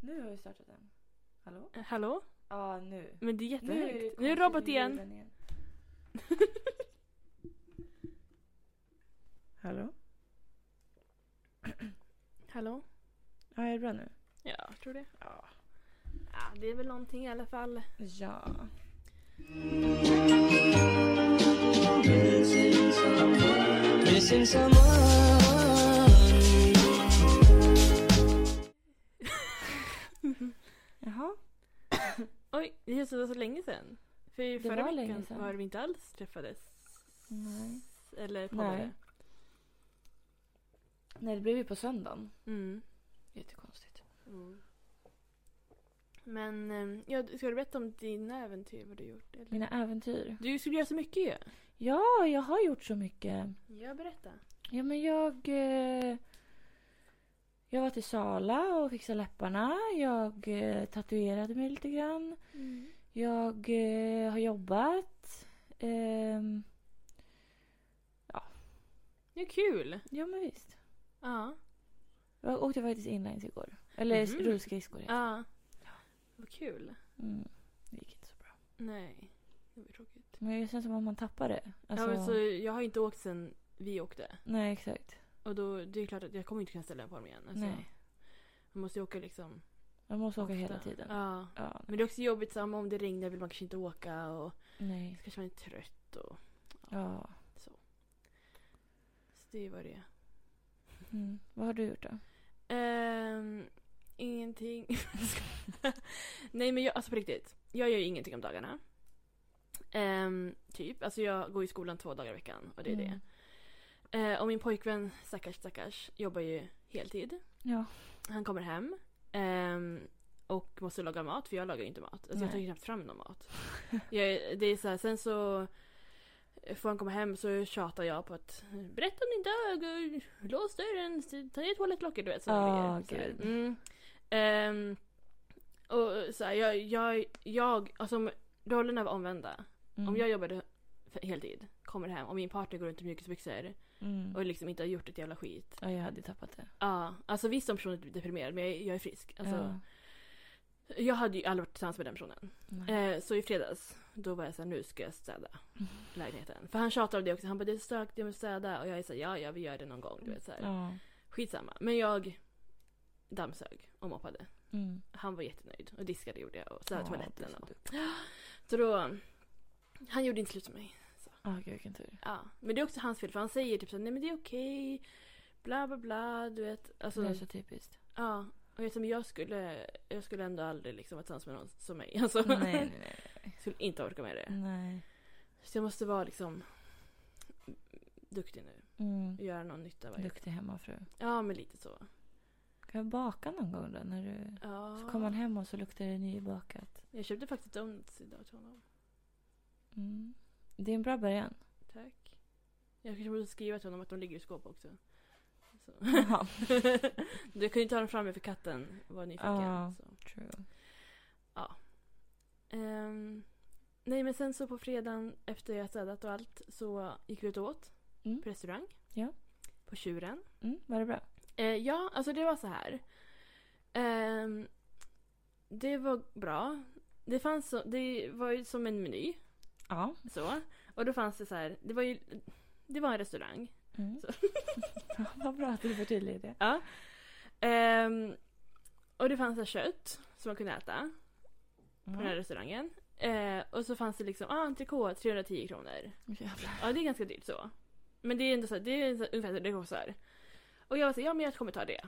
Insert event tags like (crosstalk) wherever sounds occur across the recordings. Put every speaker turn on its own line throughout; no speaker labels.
Nu har vi startat den. Hallå?
Eh, Hallå?
Ja, nu.
Men det är
Nu är
jättehögt.
det
Nu är det robot
konstigt ljud
igen.
där nere. (laughs) Hallå?
Hallå?
Ja, är det bra nu?
Ja, jag tror det.
Ja.
Ja, det är väl någonting i alla fall.
Ja.
Missing someone.
Jaha.
Oj, det känns som det var så länge sedan. För i
Det
förra
var länge
veckan
sedan.
var vi inte alls träffades.
Nej.
Eller poddade.
Nej. Nej, det blev ju på söndagen.
Mm.
Jättekonstigt. Mm.
Men eh, ja, ska du berätta om dina äventyr, vad du gjort? Eller?
Mina äventyr.
Du skulle göra så mycket ju.
Ja, jag har gjort så mycket.
Ja, berätta.
Ja, men jag... Eh, jag var till Sala och fixade läpparna. Jag eh, tatuerade mig lite grann.
Mm.
Jag eh, har jobbat. Ehm,
Det är kul.
ja, men visst.
Ja.
Jag åkte faktiskt inlines igår. Eller
Mhm.
rullskridskor. heter
Ja. Vad kul.
det. Mm. Det gick inte så bra.
Nej. Det var tråkigt.
Men det känns som att man tappar det. Alltså,
Ja, men så jag har inte åkt sen vi åkte.
Nej, exakt.
Och då, det är klart att jag kommer inte kunna ställa på mig igen. Alltså,
Nej.
Man måste ju åka liksom.
Man måste åka
ofta.
hela tiden.
Ja.
Ja,
Men det är också jobbigt samma om det regnar vill man kanske inte åka och
nej.
så kanske man är trött och
Ja.
så det var det.
Mm. Vad har du gjort då?
Ehm, ingenting. (laughs) Nej men jag, alltså på riktigt. Jag gör ju ingenting om dagarna. Ehm, typ. Alltså jag går i skolan två dagar i veckan och det är det.
Mm.
Eh, och min pojkvän, stackars stackars, jobbar ju heltid.
Ja.
Han kommer hem ehm, och måste laga mat för jag lagar ju inte mat. Alltså jag tar
Nej.
ju knappt fram någon mat.
(laughs)
Jag, det är så här, sen så får han komma hem så tjatar jag på att berätta om din dag, och lås dörren, ta ner toalettlocket du vet sådana
Ah,
grejer.
gud.
Så, mm. Ehm, och så här, jag, jag, jag, alltså om rollerna var omvända.
Mm.
Om jag jobbade f- heltid, kommer hem och min partner går runt i mjukisbyxor
mm.
och liksom inte har gjort ett jävla skit.
Ja, jag hade ju tappat det.
Ja, alltså visst som personen är deprimerad men jag, jag är frisk. Alltså,
ja.
Jag hade ju aldrig varit tillsammans med den personen.
Nej.
Eh, så i fredags, då var jag såhär, nu ska jag städa lägenheten. För han tjatar om det också, han bara det är stökigt, jag måste städa. Och jag är såhär, ja ja vi gör det någon gång. Du vet, så här.
Ja.
Skitsamma. Men jag dammsög och moppade.
Mm.
Han var jättenöjd. Och diskade gjorde jag och städade
Ja, det är
toaletten.
så
Och...
dumt.
Så då, han gjorde inte slut med mig.
Ja, gud vilken tur.
Ja, men det är också hans fel för han säger typ såhär, nej men det är okej, bla bla bla, du vet. Alltså,
det är så typiskt.
ja. Och jag, som jag, skulle, jag skulle ändå aldrig liksom vara tillsammans med någon som mig. Alltså,
nej, (laughs) (laughs) nej, Mm. nej.
(laughs) skulle inte orka med det.
nej.
Så jag måste vara liksom duktig nu.
Mm.
Göra någon nytta varje
Duktig hemmafru.
Ja, men lite så.
Kan jag baka någon gång då? När du...
Ja.
Så kommer man hem och så luktar det nybakat.
Jag köpte faktiskt donuts idag till honom.
Mm. Det är en bra början.
Tack. Jag kanske borde skriva till honom att de ligger i skåp också. Så.
(laughs) Ja.
du kan ju inte ha dem framme för katten var nyfiken.
Ja.
Så.
True.
Ehm, nej men sen så på fredagen efter jag städat och allt så gick vi ut och åt
Mm.
på restaurang.
Ja.
På Tjuren.
Mm, var det bra?
Eh, ja, alltså det var så här. Ehm, det var bra. Det fanns så, det var ju som en meny
Ja.
så. Och då fanns det så här, det var ju, det var en restaurang.
Mm.
Så.
(laughs) Ja, Vad bra att du förtydligade (laughs) det.
Ja. Ehm, och det fanns så här kött som man kunde äta på
Mm.
den här restaurangen. Eh, och så fanns det liksom ah, entrecote 310 kronor.
Jävlar.
Ja, det är ganska dyrt så. Men det är ändå så här, det är så- ungefär så det kostar. Och jag var så här, ja men jag kommer ta det.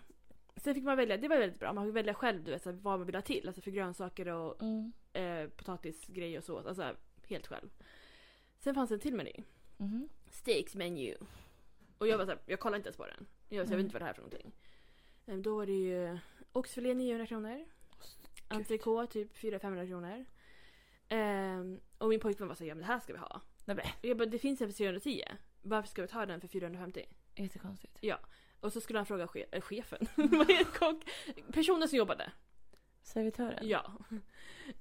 Sen fick man välja, det var väldigt bra, man fick välja själv du vet, så här, vad man vill ha till. Alltså för grönsaker och
Mm.
eh, potatisgrejer och sås. Alltså helt själv. Sen fanns det en till meny.
Mhm.
Steaks menu. Och jag var såhär, jag kollar inte ens på den. Jag, var så här, jag vet inte vad det här är för någonting. Ehm, Då var det ju oxfilé 900 kronor. Entrecote typ 400-500 kronor. Ehm, och min pojkvän var såhär, ja men det här ska vi ha.
Nej, men.
Och jag bara, det finns en för 310. Varför ska vi ta den för 450?
Jättekonstigt.
Och så skulle han fråga che- äh, chefen, (laughs) vad är kock? Personen som jobbade.
Servitören?
Ja.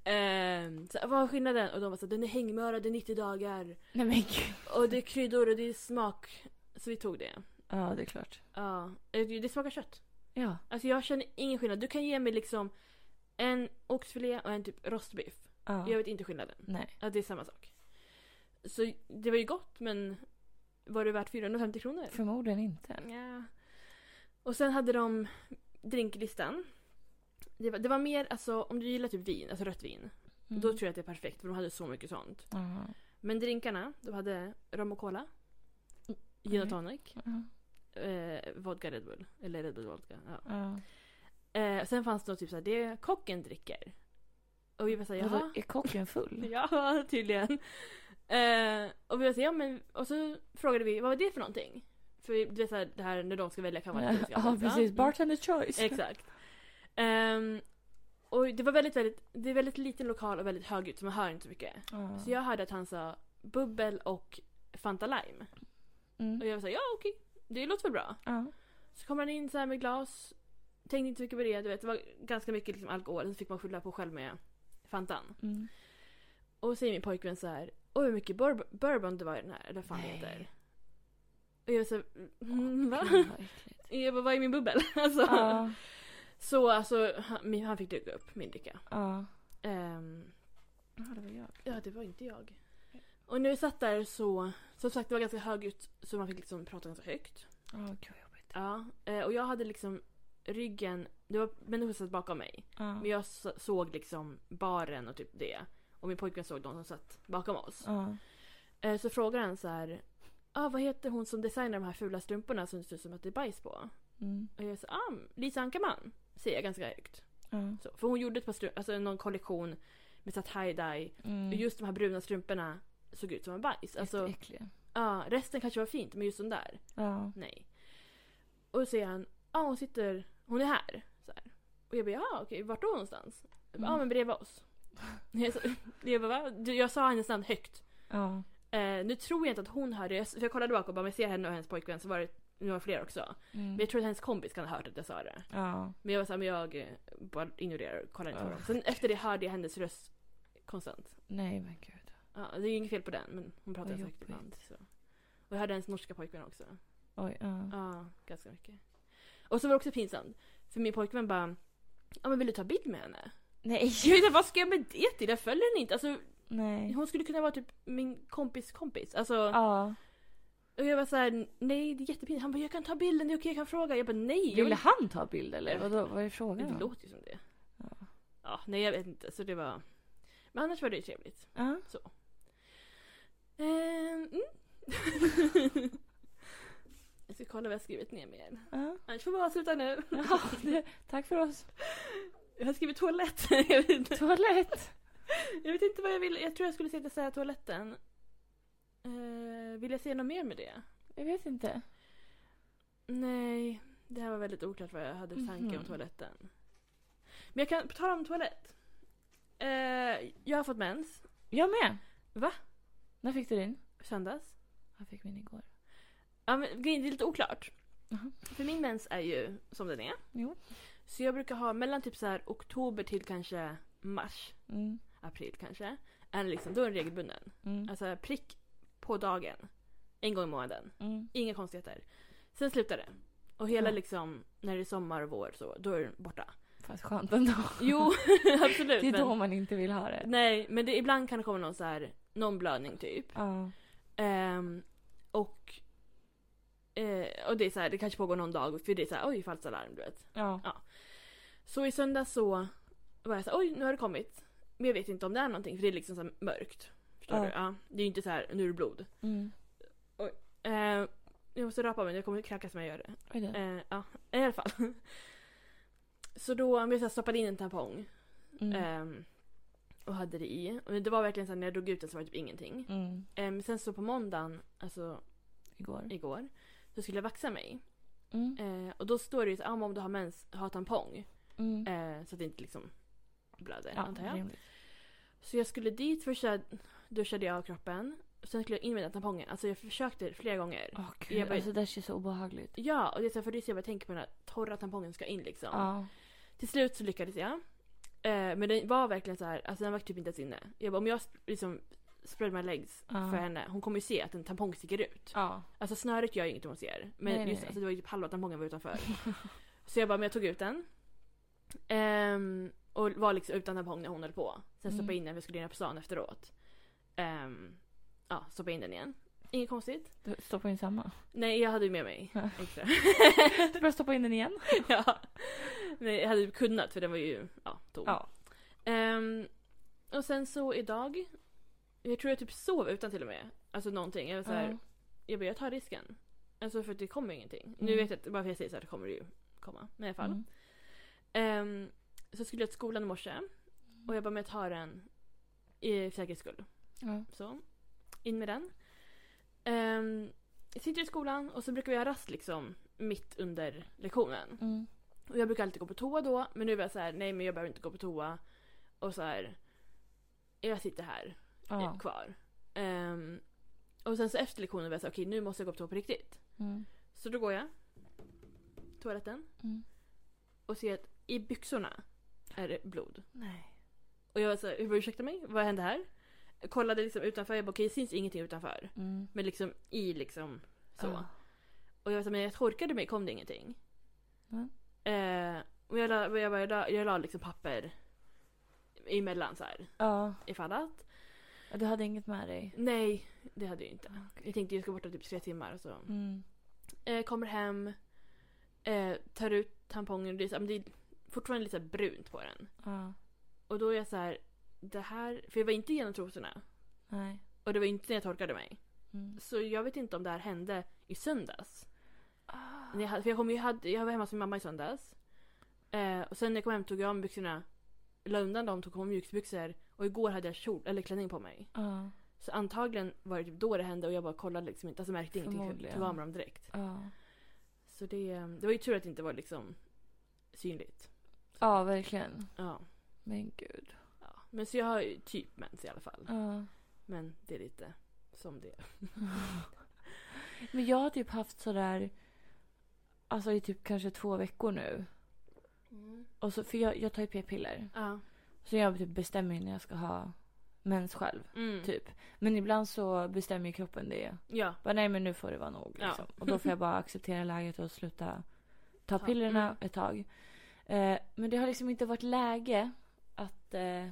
Ehm, så här, vad är skillnaden? Och de var såhär, den är hängmörad, det är 90 dagar.
Nej men gud.
Och det är kryddor och det är smak. Så vi tog det.
Ja, det är klart.
Ja, eh, det smakar kött.
Ja.
Alltså jag känner ingen skillnad. Du kan ge mig liksom En oxfilé och en typ rostbiff.
Ja.
Jag vet inte skillnaden.
Nej.
Att det är samma sak. Så det var ju gott men var det värt 450 kronor?
Förmodligen inte.
Ja. Och sen hade de drinklistan. Det var, det var mer alltså om du gillar typ vin, alltså rött vin. Då
Mm.
tror jag att det är perfekt för de hade så mycket sånt.
Ja.
Men drinkarna, de hade rom och cola.
Mm.
Gin och tonic.
Ja.
Eh, vodka Red Bull. Eller Red Bull vodka. Ja.
Ja.
Eh, sen fanns det typ såhär, det kocken dricker. Och vi var såhär,
Vadå,
jaha.
Är kocken full?
(laughs) Ja, tydligen. Eh, och vi var såhär, ja men. Och så frågade vi, vad var det för någonting? För vi- du vet såhär, det här när de ska välja kammaren.
(laughs) Ja, precis. Bartender choice.
(laughs) Exakt. Ehm, och det var väldigt, väldigt, det är väldigt liten lokal och väldigt högljutt så man hör inte så mycket.
Ja.
Så jag hörde att han sa bubbel och Fanta Lime. Och
Mm.
jag var såhär, ja okej, det låter väl bra.
Ja.
Så kommer han in så här med glas. Tänkte inte så mycket på det, du vet. Det var ganska mycket liksom alkohol. Så fick man skylla på själv med Fantan.
Mm.
Och säger min pojkvän så här. Oj hur mycket bourb- bourbon det var i den här. Eller vad fan det
Nej.
heter. Och jag var såhär. Mm, va?
Gud,
(laughs)
vad äckligt.
Jag bara, vad är min bubbel? (laughs) Alltså.
Ja.
Så alltså han, min- han fick dyka upp min dricka.
Ja.
Ehm,
Ja, det var jag.
ja det var inte jag. Och när vi satt där så. Som sagt det var ganska högljutt. Så man fick liksom prata ganska högt.
Ja, gud vad jobbigt.
Ja. eh, Och jag hade liksom ryggen. Det var människor som satt bakom mig.
Ja.
Men jag s- såg liksom baren och typ det. Och min pojkvän såg de som satt bakom oss.
Ja.
Eh, Så frågade han så här. Ah, vad heter hon som designar de här fula strumporna som det ser ut som att det är bajs på?
Mm.
Och jag sa ah, Lisa Ankerman. Säger jag ganska högt.
Ja.
Så, för hon gjorde ett par strumpor, alltså någon kollektion med så här tie-dye.
Mm.
Och just de här bruna strumporna såg ut som en bajs. Alltså,
Jätteäcklig.
ja, resten kanske var fint men just den där,
Ja.
nej. Och då säger han, ja ah, hon sitter, hon är här. Så här. Och jag bara, ja okej, vart då någonstans? Jag bara, Ja
Mm.
men bredvid oss. (laughs) Jag, sa, jag, bara, "Va?" Du, jag sa hennes namn högt.
Ja.
Eh, nu tror jag inte att hon hörde det, för jag kollade bak och bara, men jag ser henne och hennes pojkvän så var det några fler också.
Mm.
Men jag tror att hennes kompis kan ha hört att jag sa det.
Ja.
Men jag var såhär, men jag eh, bara ignorerar och kollar inte på
Ja.
dem. Sen efter det hörde jag hennes röst konstant.
Nej men gud.
Ja, det är ju inget fel på den, men hon pratar
Vad
så högt
jobbigt.
ibland. Så. Och jag hörde hennes norska pojkvän också.
Oj. Ja.
Ja, ganska mycket. Och så var det också pinsamt. För min pojkvän bara Ja men vill du ta bild med henne?
Nej.
Jag vet inte, vad ska jag med det till? Jag följer henne inte. Alltså,
Nej.
hon skulle kunna vara typ min kompis kompis. Alltså,
Ja.
Och jag var såhär, nej det är jättepinsamt. Han bara, jag kan ta bilden, det är okej, jag kan fråga. Jag bara, nej. Jag
Ville
vill...
han ta bild eller? Vadå, vad är
Det
frågan om?
låter ju som det.
Ja.
Ja, nej jag vet inte. Så det var... Men annars var det ju trevligt.
Ja.
Ehm, mm. (laughs) jag ska kolla vad jag har skrivit ner mer.
Ja. (laughs)
Annars får vi avsluta nu.
Ja, det, tack för oss.
Jag har skrivit toalett. (laughs) jag vet
(laughs)
inte.
Toalett.
Jag vet inte vad jag ville. Jag tror jag skulle sitta och säga toaletten. Eh, vill jag säga något mer med det?
Jag vet inte.
Nej, det här var väldigt oklart vad jag hade för tankar om
Mhm.
toaletten. Men jag kan, på tal om toalett. Eh, jag har fått mens
Jag med.
Va?
När fick du din?
söndags.
Jag fick min igår.
Ja, men, grejen är, det är lite oklart.
Jaha.
För min mens är ju som den är.
Jo.
Så jag brukar ha mellan typ så här oktober till kanske mars,
Mm.
april kanske. Är det liksom, då är den regelbunden.
Mm.
Alltså prick på dagen. En gång i månaden.
Mm.
Inga konstigheter. Sen slutar det. Och hela
Ja.
liksom, när det är sommar och vår så, då är den
(laughs)
borta.
Fast skönt ändå.
Jo, (laughs)
(laughs)
absolut.
Det är
men,
då man inte vill ha det.
Nej, men det, ibland kan det komma någon så här, någon blödning typ.
Ja.
Ehm, och, eh, och det är så här, det kanske pågår någon dag för det är så här, oj falskt alarm du vet.
Ja.
Så i söndag så var jag så här, oj nu har det kommit. Men jag vet inte om det är någonting för det är liksom så här mörkt. Förstår
Ja.
du? Ja, det är ju inte så här, nu är det blod.
Mm.
Ehm, jag måste rapa mig, jag kommer kräkas om jag gör det.
Oj då.
Eh, ja, i alla fall. (laughs) Så då men jag så här stoppade in en tampong
Mm.
ehm, och hade det i. Och det var verkligen så här, när jag drog ut den så var det typ ingenting.
Mm.
Ehm, sen så på måndagen, alltså
Igår.
igår, så skulle jag vaxa mig.
Mm.
Eh, och då står det ju så här, ah, men om du har mens, ha tampong.
Mm.
Eh, så att det inte liksom blöder
Ja,
antar jag.
rimligt.
Så jag skulle dit, först så här duschade jag av kroppen. Sen skulle jag in med den tampongen. Alltså jag försökte flera gånger.
Åh gud,
Jag bara-
alltså det där känns så obehagligt.
Ja, och det är så här, för det är så jag bara tänker på den här torra tampongen ska in liksom.
Ja.
Till slut så lyckades jag. Eh, men den var verkligen så här, alltså den var typ inte ens inne. Jag bara, om jag sp- liksom spread my legs
Ja.
för henne, hon kommer ju se att en tampong sticker ut.
Ja.
Alltså snöret gör ju inget om hon ser. Men
Nej, nej,
just
nej.
Alltså, (laughs) det var ju typ halva tampongen var utanför. så jag bara, men jag tog ut den. Ehm, Och var liksom utan tampong när hon höll på. Sen stoppade
Mm.
in den, vi skulle ner på stan efteråt. Ehm, ja, stoppade in den igen. Inget konstigt.
Du stoppar in
(laughs)
samma.
Nej, jag hade ju med mig
(laughs) Ja.
extra. (laughs)
Du börjar stoppa in den igen.
ja. Nej, jag hade ju kunnat för den var ju ja, tom.
Ja.
Ehm, och sen så idag, jag tror jag typ sov utan till och med. Alltså någonting. Jag var så här,
Ja.
jag bara jag tar risken. Alltså för att det kommer ingenting. Nu
Mm.
vet jag att bara för att jag säger så här så kommer det ju komma. Men i alla fall.
Mm.
Ehm, så skulle jag till skolan i morse. Och jag bara, men jag tar den i för säkerhets skull.
Ja.
Så, in med den. Um, jag sitter i skolan och så brukar vi ha rast liksom mitt under lektionen.
Mm.
Och jag brukar alltid gå på toa då, men nu är jag så här, nej men jag behöver inte gå på toa. Och så här, jag sitter här eh,
Ja.
kvar. Ehm, och sen så efter lektionen var jag så här, okej nu måste jag gå på toa på riktigt.
Mm.
Så då går jag. Toaletten.
Mm.
Och ser att i byxorna är det blod.
Nej.
Och jag var så här, jag bara, ursäkta mig, vad hände här? Jag kollade liksom utanför, jag bara okej det syns ingenting utanför.
Mm.
Men liksom i liksom så.
Ja.
Och jag var så här, men jag torkade mig kom det ingenting.
Mm.
Eh, och jag la, jag, bara, jag, la, jag la liksom papper emellan så här
Ja.
ifall att.
Du hade inget med dig?
Nej, det hade jag inte.
Okej.
Jag tänkte jag ska borta typ tre timmar och så.
Mm.
Eh, kommer hem, eh, tar ut tampongen och det är, så- men det är fortfarande lite så här brunt på den.
Ja.
Och då är jag så här, det här, för jag var inte genom trosorna.
Nej.
Och det var inte när jag torkade mig.
Mm.
Så jag vet inte om det här hände i söndags.
Ah.
När Jag, hade- för jag, kom, ju- jag, hade, jag var hemma hos min mamma i söndags. Eh, och sen när jag kom hem tog jag av mig byxorna, la undan dem, tog på mig mjukisbyxor. Och igår hade jag kjol, eller klänning på mig.
Ja.
Så antagligen var det typ då det hände och jag bara kollade liksom inte, alltså märkte ingenting.
Förmodligen.
Tog av mig dem direkt.
Ja.
Så det, eh, det var ju tur att det inte var liksom synligt.
Ja, verkligen.
Ja.
Men gud.
ja. Men så jag har ju typ mens i alla fall.
Ja.
Men det är lite som det är.
Men jag har typ haft sådär, alltså i typ kanske två veckor nu. Och så, för jag, jag tar ju p-piller.
Ja.
Så jag typ bestämmer ju när jag ska ha mens själv.
Mm.
Typ. Men ibland så bestämmer ju kroppen det.
Ja.
Bara, nej men nu får det vara nog.
Ja.
Liksom. Och då får jag bara acceptera läget och sluta ta
Ta-
pillerna
mm.
ett tag. Eh, men det har liksom inte varit läge att, eh,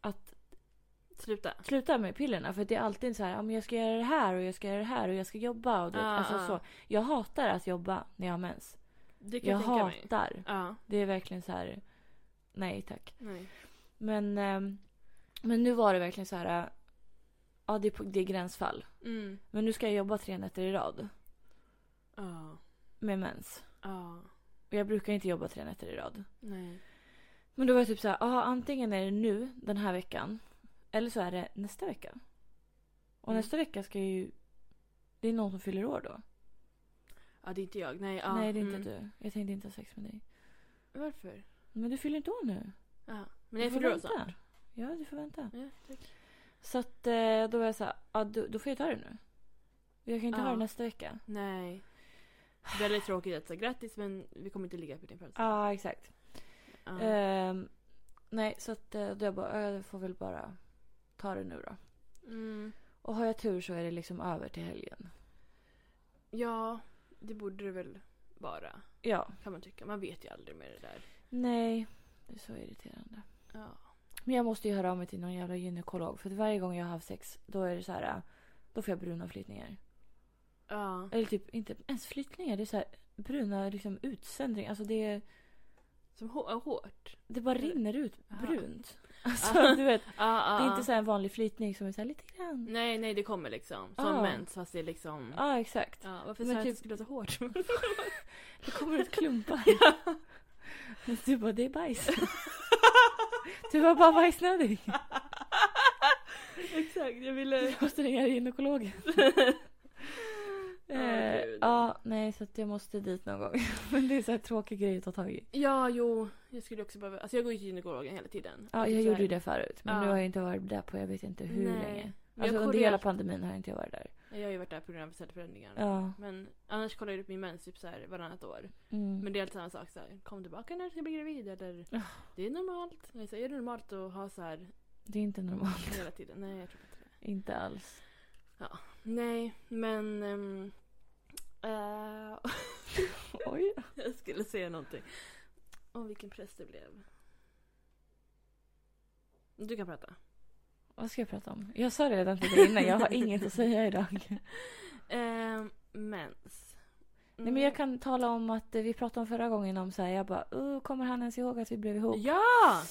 att
Sluta.
sluta med pillerna. För det är alltid så här, ja, men jag ska göra det här och jag ska göra det här och jag ska jobba. Och det.
Ah,
alltså,
ah.
Så. Jag hatar att jobba när jag har mens.
Det kan
Jag
jag, tänka mig.
hatar.
Ja.
Det är verkligen så här, nej tack.
Nej.
Men, ehm, men nu var det verkligen så här... äh, Ja, det är, på, det är gränsfall.
Mm.
Men nu ska jag jobba tre nätter i rad
Ja.
med mens.
Ja.
Och jag brukar inte jobba tre nätter i rad.
Nej.
Men då var jag typ så här, aha, antingen är det nu den här veckan. Eller så är det nästa vecka. Och
Mm.
nästa vecka ska jag ju... Det är någon som fyller år då.
Ja, det är inte jag. Nej, ja.
Nej, det är inte
mm.
du. Jag tänkte inte ha sex med dig.
Varför?
Men du fyller inte år nu.
Ja. Men jag
Du får
fyller år
vänta.
snart.
Ja, du får vänta.
Ja, tack.
Så att eh, då var jag så här, ja, då, då får jag ta det nu. Jag kan inte
Ja.
ha det nästa vecka.
Nej. Väldigt tråkigt att säga grattis men vi kommer inte ligga på din
Ja,
födelsedag.
exakt.
Ja.
Ehm, nej, så att eh, då jag bara, "Ja, jag får väl bara ta det nu då.
Mm.
Och har jag tur så är det liksom över till helgen.
ja, det borde det väl vara.
Ja.
Kan man tycka. Man vet ju aldrig med det där.
Nej, det är så irriterande.
Ja.
Men jag måste ju höra av mig till någon jävla gynekolog. För att varje gång jag har haft sex, då är det så här, eh, då får jag bruna flytningar.
Ja.
Eller typ inte ens flytningar, det är så här bruna liksom utsändringar. Alltså det, är-
Som hå- hårt.
det bara rinner ut
Aha.
brunt. Alltså du vet,
Ja, ja,
det är
ja.
inte så här en vanlig flytning som är så här lite grann. Ja,
Nej, nej det kommer liksom. Som
Ja.
mens fast det är liksom... Ja.
exakt.
varför
Men
sa jag att
typ-
det skulle låta hårt?
Det kommer ut klumpar. Du bara, det är bajs. Du var bara bajsnödig.
Exakt, jag ville...
Jag måste ringa gynekologen.
Åh,
Eh,
gud.
ja, nej så att jag måste dit någon gång. (laughs) Men det är så här tråkig grej att ta tag i.
Ja, jo. Jag skulle också behöva... Alltså jag går ju till gynekologen hela tiden. typ
Ja, jag gjorde ju det förut. Men
Ja.
nu har jag inte varit där på jag vet inte hur länge.
Men
Alltså
jag,
under
kollar-
hela pandemin har jag inte varit där.
jag har ju varit där på grund av cellförändringar.
Ja.
Men annars kollar jag upp min mens typ så här varannat år.
Mm.
Men det är alltid samma sak. Så här, kom tillbaka när du ska bli gravid. Eller
Ja.
det är normalt. Jag säger, är det normalt att ha så här
Det är inte normalt. (laughs)
hela tiden? Nej, jag tror inte det.
Inte
(laughs)
alls.
Nej, men... ehm, eh, (laughs)
Oj. (laughs)
jag skulle säga någonting. Om vilken press det blev. Du kan prata.
Vad ska jag prata om? Jag sa det redan till dig innan, jag har inget att säga idag.
(laughs) Mm. Ehm, mens. Mm.
Nej, men jag kan tala om att eh, vi pratade om förra gången om så här, jag bara, "Uh, kommer han ens ihåg att vi blev ihop?
Ja!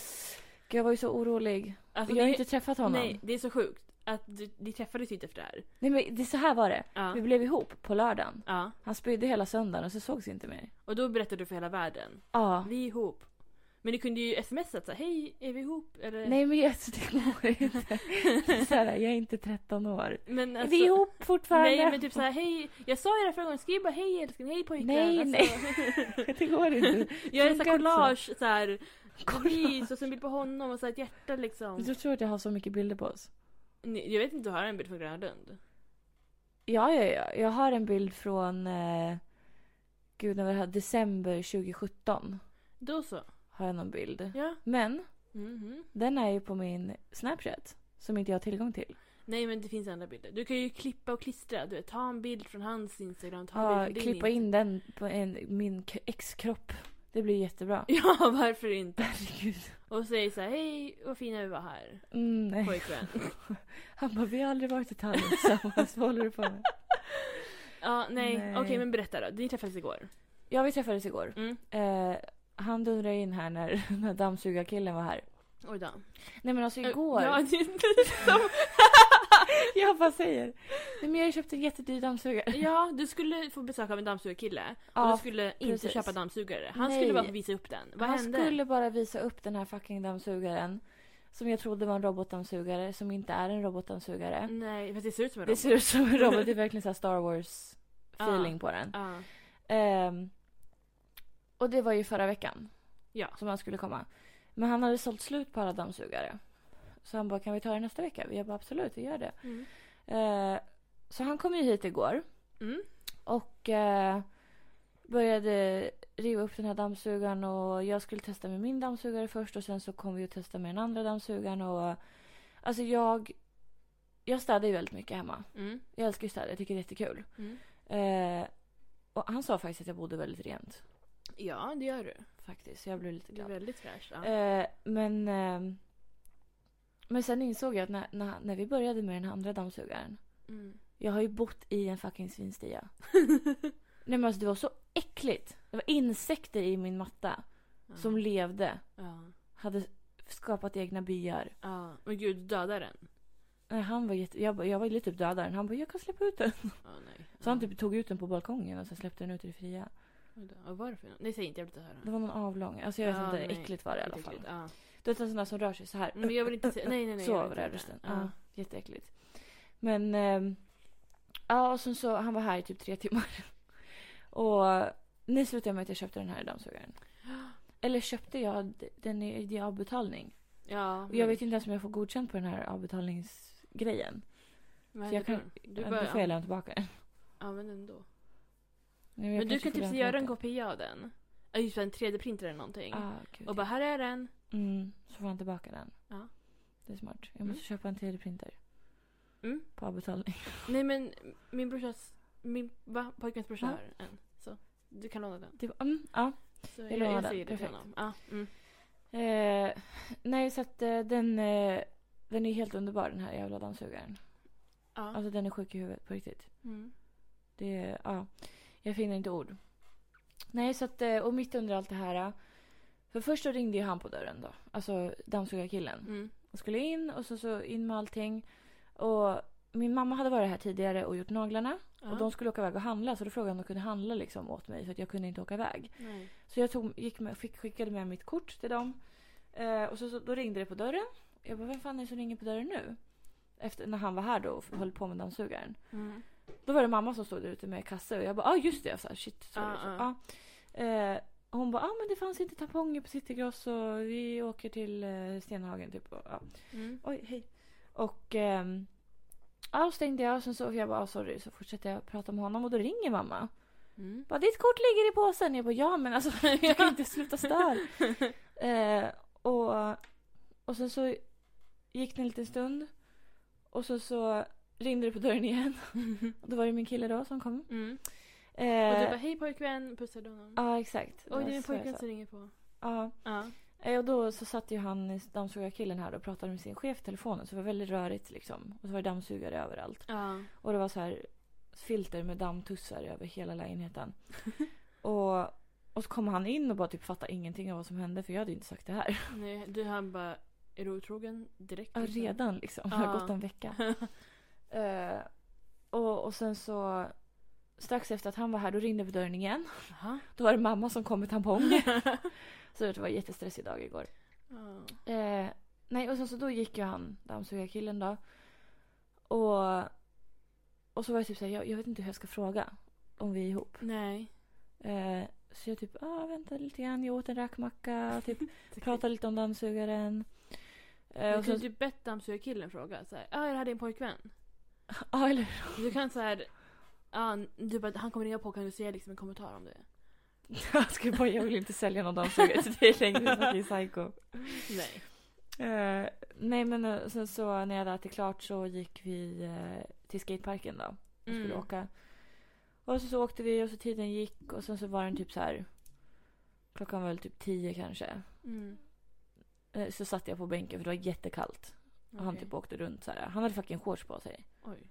Gud, jag var ju så orolig.
Alltså,
jag har
det-
ju inte träffat honom.
Nej,
Nej.
det är så sjukt. Att du, ni träffades ju inte efter det här.
men det, så här var det.
Ja.
Vi blev ihop på lördagen.
ja.
Han spydde hela söndagen och så sågs vi inte mer.
Och då berättade du för hela världen.
Ja.
Vi är ihop. Men du kunde ju smsat så här, hej, är vi ihop? Eller...
Nej (laughs) men alltså, det går inte. Det är (laughs) så här, jag är inte 13 år.
(laughs) men
Är
alltså,
vi ihop fortfarande?
Nej, men typ så här, hej, jag sa ju det här förra gången, skriv bara hej älskling, hej Alltså, pojkvän.
Nej, (laughs)
nej.
det går
(laughs)
inte.
Gör en sån
Funkar
här
inte så.
collage så här. Precis, och så en bild på honom och så här ett hjärta liksom.
Du tror att jag har så mycket bilder på oss?
Ni- Jag vet inte, du har en bild från Gröna Lund?
Ja, ja, ja. Jag har en bild från... Eh, gud, när var det här? December 2017
Då så.
har jag någon bild.
Ja.
Men
Mhm.
den är ju på min Snapchat. Som inte jag har tillgång till.
Nej men det finns andra bilder. Du kan ju klippa och klistra. Du vet, ta en bild från hans Instagram, ta en
Ja,
bild från din
klippa in den på en, min k- ex-kropp. Det blir jättebra.
(laughs) Ja, varför
(laughs)
inte?
Herregud.
Och säg så här, hej vad fina vi var här,
Mm, nej. (laughs)
pojkvän.
Han bara, vi har aldrig varit i Thailand tillsammans. Vad håller du på
(laughs)
med?
Ja, nej.
Nej.
Okej, men berätta då. Ni träffades igår.
Ja, vi träffades igår.
Mm.
Eh, han dundrade in här när, (laughs) när dammsugarkillen var här.
Oj då.
Nej men alltså igår.
Ja, (laughs) det är inte
(laughs)
som...
Jag bara säger. Nej men jag har ju köpt en jättedyr dammsugare.
ja, du skulle få besök av en dammsugarkille. och
Ja,
du skulle inte
precis.
köpa dammsugare. Han
Nej.
skulle bara få visa upp den. Vad
han
hände?
skulle bara visa upp den här fucking dammsugaren. Som jag trodde var en robotdammsugare som inte är en robotdammsugare.
Nej, fast det ser ut som en
Det
robot.
ser ut som en robot. Det är verkligen så här Star Wars feeling
Ja.
på den.
(laughs) Ja.
Ehm, och det var ju förra veckan.
Ja.
Som han skulle komma. Men han hade sålt slut på alla dammsugare. Så han bara, kan vi ta det nästa vecka? Jag bara, absolut, vi gör det.
Mm.
Eh, så han kom ju hit igår
Mm.
och eh, började riva upp den här dammsugaren och jag skulle testa med min dammsugare först och sen så kom vi och testade med den andra dammsugaren och alltså jag jag städar ju väldigt mycket hemma.
Mm.
Jag älskar ju städa, jag tycker det är jättekul.
Mm.
Eh, och han sa faktiskt att jag bodde väldigt rent
Ja, det gör du.
faktiskt. så Jag blev lite
Det är
glad.
väldigt fräscht. Ja.
Eh, men, eh, men sen insåg jag att när, när, när vi började med den här andra dammsugaren.
Mm.
Jag har ju bott i en fucking svinstia. Nej men alltså det var så äckligt. Det var insekter i min matta (laughs)
Ja.
som levde.
Ja.
Hade skapat egna byar.
ja. Men gud, döda den.
Nej, han var jätte... jag, bara- jag ville typ döda den. Han bara, jag kan släppa ut den.
Ja, nej.
Så han
Ja.
typ tog ut den på balkongen och sen släppte den ut i det fria.
Oj då. Vad var det för något? Nej, säg inte. Jag vill inte höra.
Det var någon avlång. Alltså jag vet
Ja,
inte,
nej.
äckligt var det i alla
Äckligt,
fall.
Ja. Mm,
Du vet en sån där som rör sig så här.
Men jag vill inte se. Nej, nej, nej.
så
jag vill
var
inte
typ det
höra.
rösten. Ja.
Ja.
jätteäckligt. Men... ehm, ja, och sen så, han var här i typ tre (laughs) timmar. Och nu slutade med att jag köpte den här dammsugaren. Eller köpte jag, den är i avbetalning.
(gasps) ja.
Och jag vet inte ens om jag får godkänt på den här avbetalningsgrejen.
Vad
så jag
hände då?
Du
Du
Då får jag
bara...
lämna tillbaka
(laughs)
den.
Ja, men ändå.
Nej, jag
Men du
kanske
kan
får
typ
lämna
göra en
tillbaka
kopia av den. Ja, just det, en 3D-printer eller någonting.
den. Ah, gud.
Och bara, här är den.
Mm, så får han tillbaka den.
Ja.
Det är smart. Jag
Mm.
måste köpa en 3D-printer.
Mm.
På avbetalning. (laughs)
Nej men min brorsas, min va? pojkväns brorsa
Ja.
har en. Så du kan låna den.
Typ, mm, ja.
Så
Jag
jag,
lånar
jag,
den,
säger det till
perfekt.
honom. Ja, mm.
Eh, nej, så att eh, den, eh, den är helt underbar den här jävla dammsugaren.
ja.
Alltså den är sjuk i huvudet på riktigt.
Ah, Mm.
Det är, ja. Jag finner inte ord. Nej, så att, eh, och mitt under allt det här. eh, För först så ringde ju han på dörren då. Alltså dammsugarkillen.
Mm.
Och skulle in och så, så in med allting. Och min mamma hade varit här tidigare och gjort naglarna.
Ja.
Och de skulle åka iväg och handla så då frågade han om de kunde handla liksom åt mig för att jag kunde inte åka iväg.
Nej.
Så jag tog, gick med, fick, skickade med mitt kort till dem. Eh, och så, så, då ringde det på dörren. Jag bara, vem fan är det som ringer på dörren nu? Efter, när han var här då och f- höll på med dammsugaren.
Mm.
Då var det mamma som stod där ute med kasse och jag bara, ja ah, just det. Jag sa, shit, sorry.
Ah,
så,
ah.
ah. Eh, och hon bara, ah, men det fanns inte tamponger på Citygross och vi åker till eh, Stenhagen typ. Och, ja.
Mm.
Oj, hej. Och ehm, ja, då stängde jag och sen så, jag bara, ah, sorry. Så fortsatte jag prata med honom och då ringer mamma. (laughs)
Mm. (laughs)
Bara, ditt kort ligger i påsen. Jag bara, ja men alltså (laughs) jag kan inte sluta störa. Eh, och, och sen så gick det en liten stund. Och så, så ringde det på dörren
(laughs)
igen. Och då var det min kille då som kom.
Mm.
Eh, Ah.
Och du bara, hej pojkvän, pussade honom.
Ja, exakt.
"Mm." Oj, det är
var
min
så jag
pojkvän
sa.
som ringer på. Ah,
Ja.
Ja.
Eh, och då så satt ju han, dammsugarkillen här och pratade med sin chef i telefonen så det var väldigt rörigt liksom. Och så var det dammsugare överallt.
Ja.
Och det var så här filter med dammtussar över hela
(laughs)
lägenheten. och, och så kom han in och bara typ fattade ingenting av vad som hände för jag hade ju inte sagt det här.
Nej, du han bara, är du otrogen direkt?
Ja,
liksom?
redan liksom. Det har
Ja.
gått en vecka.
(laughs)
Eh, och, och sen så strax efter att han var här då ringde på dörren igen.
Jaha.
Då var det mamma som kom med
(laughs)
tamponger. så det var en jättestressig dag igår.
Ja.
Eh, nej, och sen så då gick ju han, dammsugarkillen då. Och, och så var jag typ såhär, jag, jag vet inte hur jag ska fråga om vi är ihop.
Nej.
Eh, så jag typ, ah, vänta lite grann, jag åt en räkmacka,
(laughs)
typ pratade lite om dammsugaren. Eh,
Men
och sen, (laughs)
kunde du bett dammsugarkillen fråga så här, ja jag hade en pojkvän.
ah, eller,
Du kan så här, ja du bara, han kommer ringa på kan du säga liksom en kommentar om det?
(laughs) jag skulle bara, jag vill inte sälja någon dammsugare till dig längre, du fucking psycho.
Nej.
Eh, nej men eh, sen så när jag hade ätit klart så gick vi eh, till skateparken då. och
Mm.
skulle åka. Och så, så åkte vi och så tiden gick och sen så var den typ så här. Klockan var väl typ tio kanske.
Mm.
Eh, Så satt jag på bänken för det var jättekallt. Och han
Okej.
typ åkte runt så här. Han hade fucking shorts på sig.
Oj.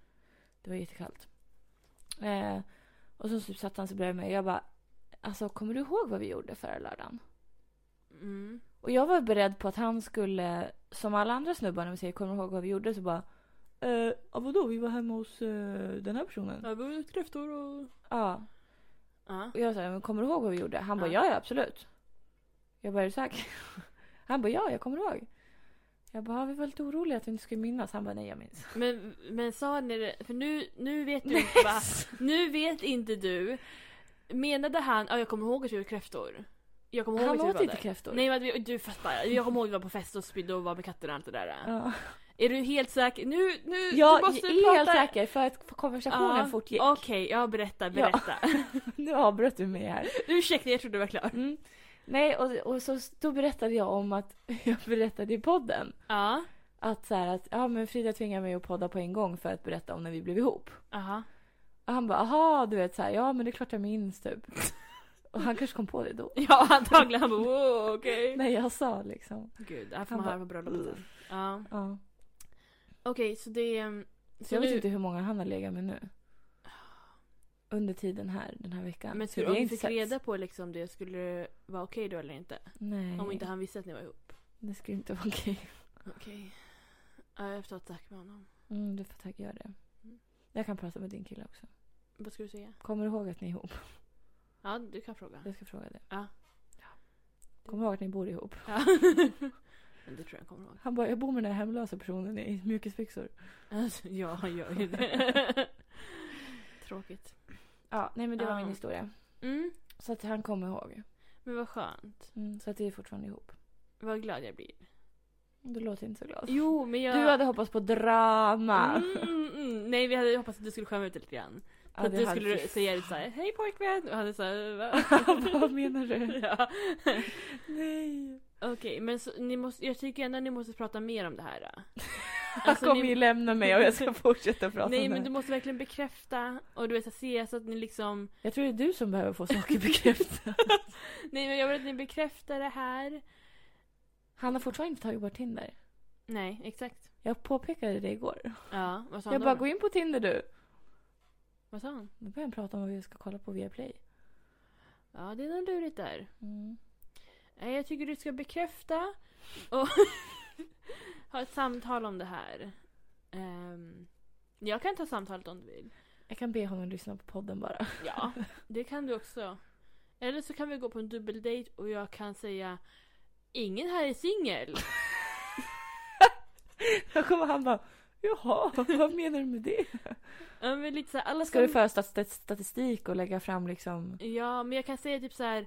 Det var jättekallt. Eh, och så typ satt han så bredvid mig och jag bara. Alltså kommer du ihåg vad vi gjorde förra lördagen?
Mm.
Och jag var beredd på att han skulle, som alla andra snubbar när vi säger kommer du ihåg vad vi gjorde? Så bara. Eh, ja, vadå vi var hemma hos eh, den här personen? Ja.
Ja, vi var ute kräftor och... Ja.
Och jag sa, men kommer du ihåg vad vi gjorde? Han bara,
Ja.
ja, ja absolut. Jag bara, är du säker? (laughs) Han bara, ja, jag kommer ihåg. Jag bara, vi var lite oroliga att vi inte skulle minnas. Han bara, nej jag minns.
Men, men sa ni det? För nu, nu
(laughs)
vet du inte va? Nu vet inte du. Menade han, ja jag kommer ihåg att vi gjorde kräftor. Jag kommer ihåg
Han
att vi
åt
var
inte
där.
kräftor.
Nej men vi- du fattar, jag kommer ihåg att vi var på fest och spydde och var med katterna och allt det där.
Ja.
Är du helt säker? Nu, nu,
Jag
du måste
är helt säker för att konversationen
Ja,
fortgick.
Okej, ja berätta, berätta.
(laughs) Nu avbröt du mig här.
(laughs) Ursäkta, jag trodde du var klar.
Mm. Nej, och, och så då berättade jag om att (laughs) jag berättade i podden
Ja,
att så här att ja men Frida tvingade mig att podda på en gång för att berätta om när vi blev ihop.
aha.
Och han bara, aha du vet så här, ja men det är klart jag minns
(laughs)
typ. och han kanske kom på det då.
Ja antagligen, han bara (laughs) wow, okej.
Nej, jag sa liksom.
Gud, det här får
Han
man
bara,
höra på bröllopet sen. Ja.
Ja.
Okej, så det... ehm,
Så
Så
jag
nu,
vet inte hur många han har legat med nu. Under tiden här, den här veckan.
Men
Så
skulle,
vi har
om du
inte
fick
setts.
reda på liksom det, skulle det vara okej då eller inte?
Nej,
Om inte han visste att ni var ihop?
det skulle inte vara okej.
Okej. Ja, jag får ta ett snack med honom.
Mm, du får tacka göra det.
Mm.
Jag kan prata med din kille också.
Vad ska du säga?
Kommer du ihåg att ni är ihop?
Ja, du kan fråga.
Jag ska fråga det.
Ja.
Ja. Kommer du ihåg att ni bor ihop?
(laughs) Ja. Men det tror jag han kommer ihåg.
Han bara, jag bor med den här hemlösa personen i mjukisbyxor.
(laughs) Alltså, ja, han gör ju det. (laughs) Tråkigt.
Ja, nej men det var
Ah.
min historia.
Mm,
Så att han kommer ihåg.
men vad skönt.
Mm, så att vi är fortfarande ihop.
Vad glad jag blir.
Du låter inte så glad.
Jo, men jag...
Du hade hoppats på drama.
Mm, mm, mm. Nej, vi hade hoppats att du skulle skämma ut dig lite grann.
Ja,
Så att
det
du
hade-
skulle säga lite såhär, hej pojkvän! Och han är såhär, va?
(laughs) Vad menar du?
(laughs) ja.
Nej.
Okej, men så, ni måste, jag tycker ändå att ni måste prata mer om det här. då.
Han
Alltså,
kommer
ni-
ju lämna mig och jag ska fortsätta prata
Nej,
om
men
det.
du måste verkligen bekräfta och du vet, så se så att ni liksom
Jag tror det är du som behöver få saker bekräftade.
(laughs) Nej men jag vill att ni bekräftar det här.
Han har fortfarande inte tagit bort Tinder.
Nej, exakt.
Jag påpekade det igår.
Ja, vad sa han
jag
då?
bara, gå in på Tinder du.
Vad sa han?
Nu börjar han prata om vad vi ska kolla på Viaplay.
Ja, det är nog lurigt där.
Mm.
Nej, Eh, jag tycker du ska bekräfta och (laughs) ha ett samtal om det här. Ehm, jag kan ta samtalet om du vill.
Jag kan be honom lyssna på podden bara. (laughs)
Ja, (laughs) det kan du också. Eller så kan vi gå på en dubbeldejt och jag kan säga Ingen här är singel.
Då kommer han bara, jaha, vad menar du med det?
Ja, men lite så här, alla
Ska
som-
du föra stat- statistik och lägga fram liksom...
Ja, men jag kan säga typ så här.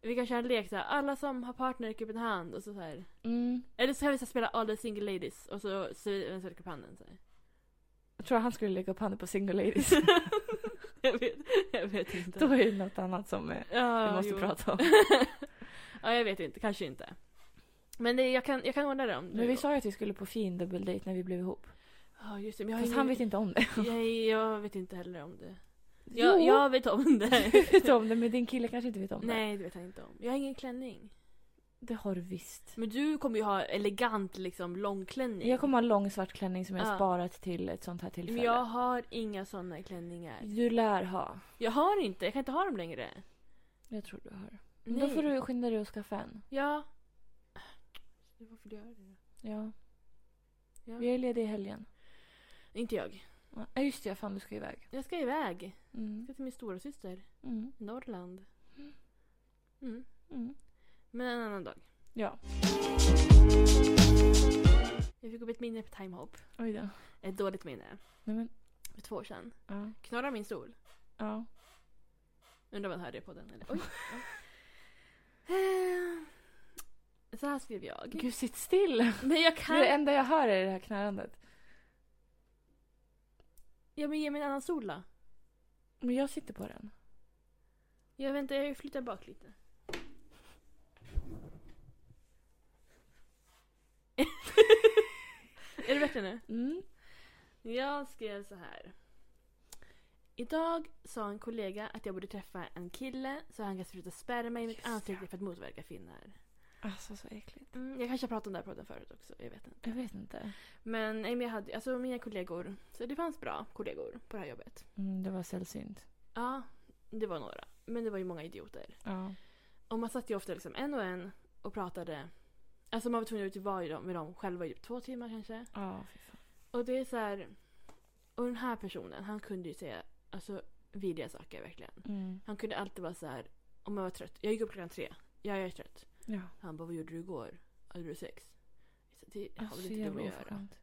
Vi kan köra en lek så här. Alla som har partner räcker upp en hand och så, så här.
Mm.
Eller så kan vi så här spela All the single ladies och så ser vi vem som räcker upp handen. Så här. (laughs)
Jag tror han skulle lägga upp handen på single (laughs) ladies.
jag, vet, jag vet inte.
Då är det något annat som eh,
ja,
vi måste
jo.
prata om.
(laughs) ja, jag vet inte. Kanske inte. Men det, jag, kan, jag kan ordna det om
Men vi sa ju att vi skulle på fin dubbeldejt när vi blev ihop.
Ja, just det. Men jag, har
Fast
ingen-
han vet inte om det.
jag, jag vet inte heller om det.
(laughs)
Jag, jag vet om det.
Du vet om det men din kille kanske inte vet om det.
Nej, det vet han inte om. Jag har ingen klänning.
Det har du visst.
Men du kommer ju ha elegant liksom långklänning.
Jag kommer ha lång svart klänning som jag
Ja.
sparat till ett sånt här tillfälle.
Men jag har inga såna klänningar.
Du lär ha.
Jag har inte, jag kan inte ha dem längre.
Jag tror du har. Men
Nej.
Då får du skynda dig och skaffa en.
Ja. Varför du gör det?
Ja.
Ja.
Vi är lediga i helgen.
Inte jag.
Ja, just det. Fan, du ska iväg.
Jag ska iväg. Jag
Mm.
ska till min stora syster
Mm.
i Norrland. Mm.
Mm.
Men en annan dag.
Ja.
Jag fick upp ett minne på timehop.
Oj då.
Ett dåligt minne.
Nej men.
För två år sedan.
Ja.
Knorrar min stol.
Ja.
Undrar vad han hörde på den. Eller? Oj. (laughs) Eh, Så här skrev jag.
Gud, sitt still.
Men jag
Det är det
kan...
enda jag hör är det här knarrandet.
Ja, men ge mig en annan stol då.
Men jag sitter på den.
Jag väntar, jag flyttar bak lite. (laughs) är det bättre nu?
Mm.
Jag skrev så här. Idag sa en kollega att jag borde träffa en kille så han kan spruta sperma i mitt
Just
ansikte för att motverka finnar.
Alltså så äckligt.
Mm, jag kanske har pratat om det här på podden förut också, jag vet inte.
Jag vet inte.
Men, nej, men jag hade, alltså mina kollegor, så det fanns bra kollegor på det här jobbet.
Mm, det var sällsynt.
Ja, det var några. Men det var ju många idioter.
Ja.
Och man satt ju ofta liksom en och en och pratade. Alltså man var tvungen att ut vara i dem- med dem själva i typ två timmar kanske.
Ja, fy fan.
Och det är så här. Och den här personen, han kunde ju säga alltså vidriga saker verkligen.
Mm.
Han kunde alltid vara så här. om jag var trött. Jag gick upp klockan tre. Ja, jag är trött.
Ja.
Han bara, vad gjorde du igår? Hade du sex? Så Det har
Alltså,
väl
så
inte
jävla
dumt att göra.
oförskämt.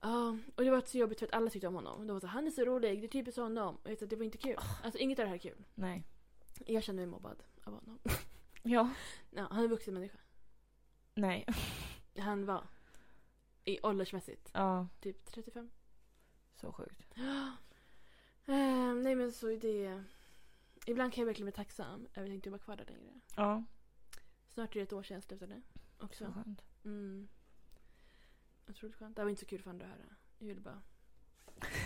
Ja, och det var så jobbigt för att alla tyckte om honom. De var så här, han är så rolig, det är typiskt honom. Och jag sa, det var inte kul.
Ah.
Alltså inget av det här är kul.
Nej.
Jag känner mig mobbad av honom. (laughs)
Ja.
Ja, han är en vuxen människa.
Nej. (laughs)
Han var i åldersmässigt
Ja.
typ 35.
Så sjukt.
(gasps) Ehm, nej men så det... Ibland kan jag verkligen bli tacksam över att jag inte jobbar kvar där längre.
Ja.
Snart är det ett år sedan jag slutade.
Så
Också.
skönt.
Mm. Otroligt skönt. Det här var inte så kul för andra att höra. Jag ville bara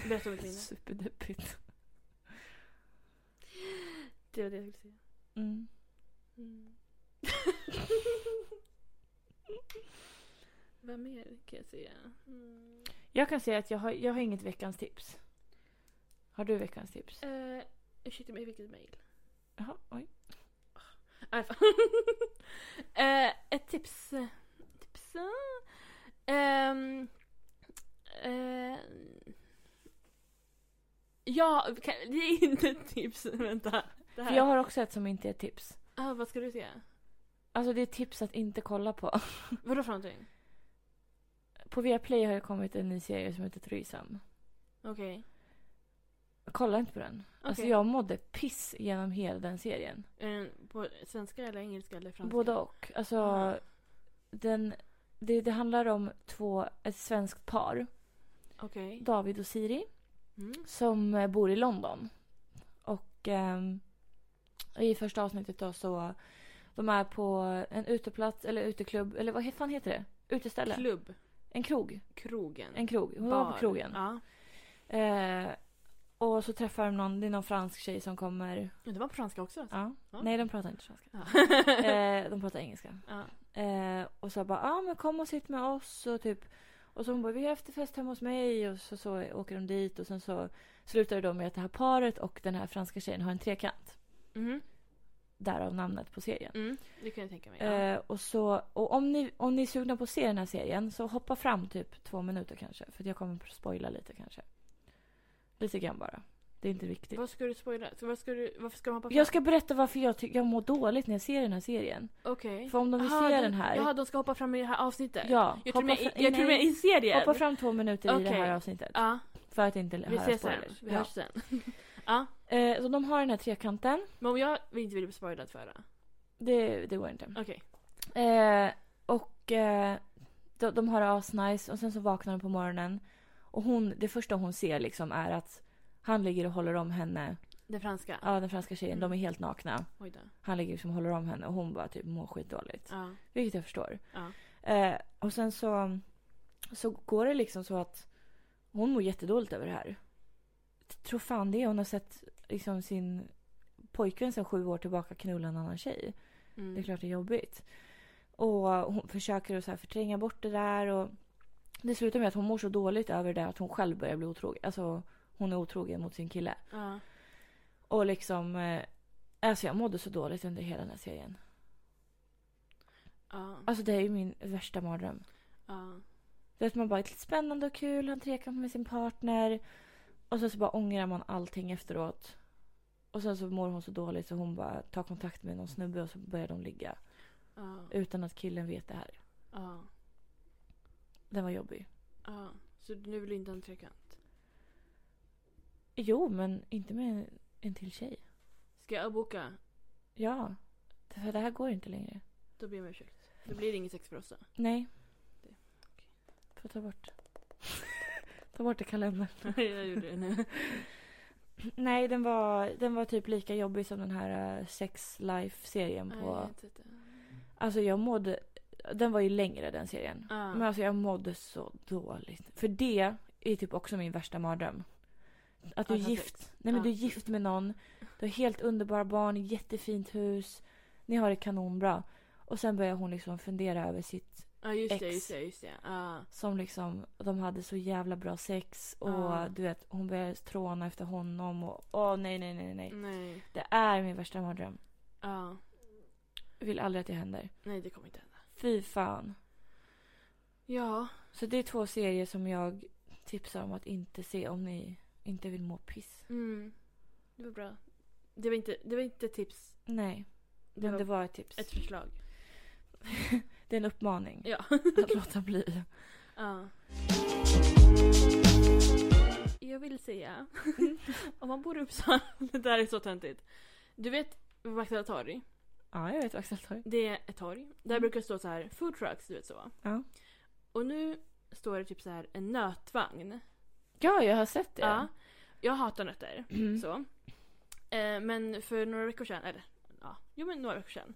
berätta om mitt minne.
Superdeppigt.
(laughs) Det var det jag skulle säga.
Mm.
(laughs) Mm. Vad mer kan jag säga? Mm.
Jag kan säga att jag har, jag har inget veckans tips. Har du veckans tips?
Uh, ursäkta mig, vilket mejl?
Jaha, oj.
Nej, (laughs) fan. Eh, ett tips. Tips. Ehm, eh, ja, kan, det är inte ett tips. (laughs) Vänta. Det
För
här.
jag har också ett som inte är tips.
ah, vad ska du säga?
Alltså det är tips att inte kolla på.
Vadå för någonting?
På Viaplay har det kommit en ny serie som heter Trysam.
Okej.
Kolla inte på den. Alltså
Okej.
jag mådde piss genom hela den serien.
Är den Eh, på svenska eller engelska eller franska?
Både och. Alltså
Ah,
den, det, det handlar om två, ett svenskt par.
Okej.
David och Siri.
Mm.
som eh, bor i London. Och ehm, i första avsnittet då så de är på en uteplats eller uteklubb eller vad he- fan heter det? Uteställe?
Klubb.
En krog.
Krogen.
En krog. Hon var på
Bar.
krogen.
Ja.
Eh, och så träffar de någon, det är någon fransk tjej som kommer.
Men Det var på franska också. alltså.
Ja.
Ja.
Nej, de pratar inte
(laughs)
franska.
Ja.
(laughs) Eh, de pratar engelska.
ja.
Eh, och så bara, ja ah, men kom och sitt med oss och typ. Och så hon bara, vi har efterfest hemma hos mig och så, så åker de dit och sen så slutar det då med att det här paret och den här franska tjejen har en trekant.
Mhm.
Därav namnet på serien.
Mm. Det kan jag tänka mig. Ja.
Eh, och så, och om, ni, om ni är sugna på att se den här serien så hoppa fram typ två minuter kanske. För att jag kommer att spoila lite kanske. Lite grann bara. Det är inte viktigt.
Vad ska du spoila? Så vad ska du, varför ska de hoppa fram?
Jag ska berätta varför jag, ty- jag mår dåligt när jag ser den här serien.
Okej.
För om de vill
Jaha,
se
de-
den här.
Mm. Jaha, de ska hoppa fram i det här avsnittet?
ja,
Jag tror
hoppa
med,
fra-
jag tror
nej,
med i serien.
Hoppa fram två minuter i det
Okej.
här avsnittet.
Ja,
För att inte
vi
höra
ses sen.
spoilers.
Vi hörs sen. ja,
Ja. Eh, så de har den här trekanten.
men om jag inte vill bli spoilad för
Mm.
det.
Det, det går inte.
Okej.
Eh, och eh, de, de har det asnice och sen så vaknar de på morgonen. Och hon, det första hon ser liksom är att han ligger och håller om henne.
Den franska?
Ja, den franska tjejen.
Mm.
De är helt nakna.
Oj då.
Han ligger liksom och håller om henne och hon bara typ mår skitdåligt.
Ja.
Vilket jag förstår.
Ja.
Eh, och sen så, så går det liksom så att hon mår jättedåligt över det här. Tror fan det. Hon har sett liksom sin pojkvän sedan sju år tillbaka knulla en annan tjej.
Mm.
Det är klart det är jobbigt. Och hon försöker att så här förtränga bort det där. Och det slutar med att hon mår så dåligt över det att hon själv börjar bli otrogen. Alltså hon är otrogen mot sin kille.
Ja.
Och liksom... eh, Alltså jag mådde så dåligt under hela den här serien.
Mm. Ja.
Alltså det är ju min värsta mardröm.
Ja.
Du vet man bara, lite spännande och kul, han trekant med sin partner. Och sen så bara ångrar man allting efteråt. Och sen så mår hon så dåligt så hon bara tar kontakt med någon snubbe och så börjar de ligga.
Ja.
Utan att killen vet det här.
Ja.
Den var jobbig.
ja. Så nu vill du inte ha en trekant?
Jo, men inte med en, en till tjej.
Ska jag boka?
Ja. För det här går inte längre.
Då ber jag om ursäkt. Då blir det inget sex för oss då.
Nej.
Det- okej.
Får ta bort. (laughs) ta bort det i kalendern.
(laughs) jag gjorde det nu.
Nej, den var, den var typ lika jobbig som den här eh, Sex Life-serien
Nej,
på...
jag har inte sett det.
Alltså jag mådde... Den var ju längre den serien.
Ja.
Men alltså jag mådde så dåligt. För det är typ också min värsta mardröm. Att du är
Att ha
gift.
sex.
Nej men
Ja.
du är gift med någon. Du har helt underbara barn, jättefint hus. Ni har det kanonbra. Och sen börjar hon liksom fundera över sitt
Ja just det,
Ex.
just det, just det. Ja.
som liksom, de hade så jävla bra sex och
Ja.
du vet, hon började tråna efter honom och åh nej, nej, nej, nej.
Nej.
Det är min värsta mardröm.
Ja.
Jag vill aldrig att det händer.
Nej det kommer inte hända.
Fy fan.
Ja.
Så det är två serier som jag tipsar om att inte se om ni inte vill må piss.
Mm. Det var bra. Det var inte, det var inte tips.
Nej, men det var ett tips.
Ett förslag.
Det är en uppmaning
Ja.
att (laughs) låta bli.
(laughs) ja. Jag vill säga. Mm. (laughs) om man bor i Uppsala. (laughs) Det här är så töntigt. Du vet Vaktala torg?
Ja, jag vet vad Axel tar.
Det är ett torg. Där brukar det stå så här food trucks, du vet så.
Mm. Ja.
Och nu står det typ så här en nötvagn.
Ja, jag har sett det.
Ja. Jag hatar nötter.
Mm.
Så. Eh, men för några veckor sedan, eller ja, jo men några veckor sedan.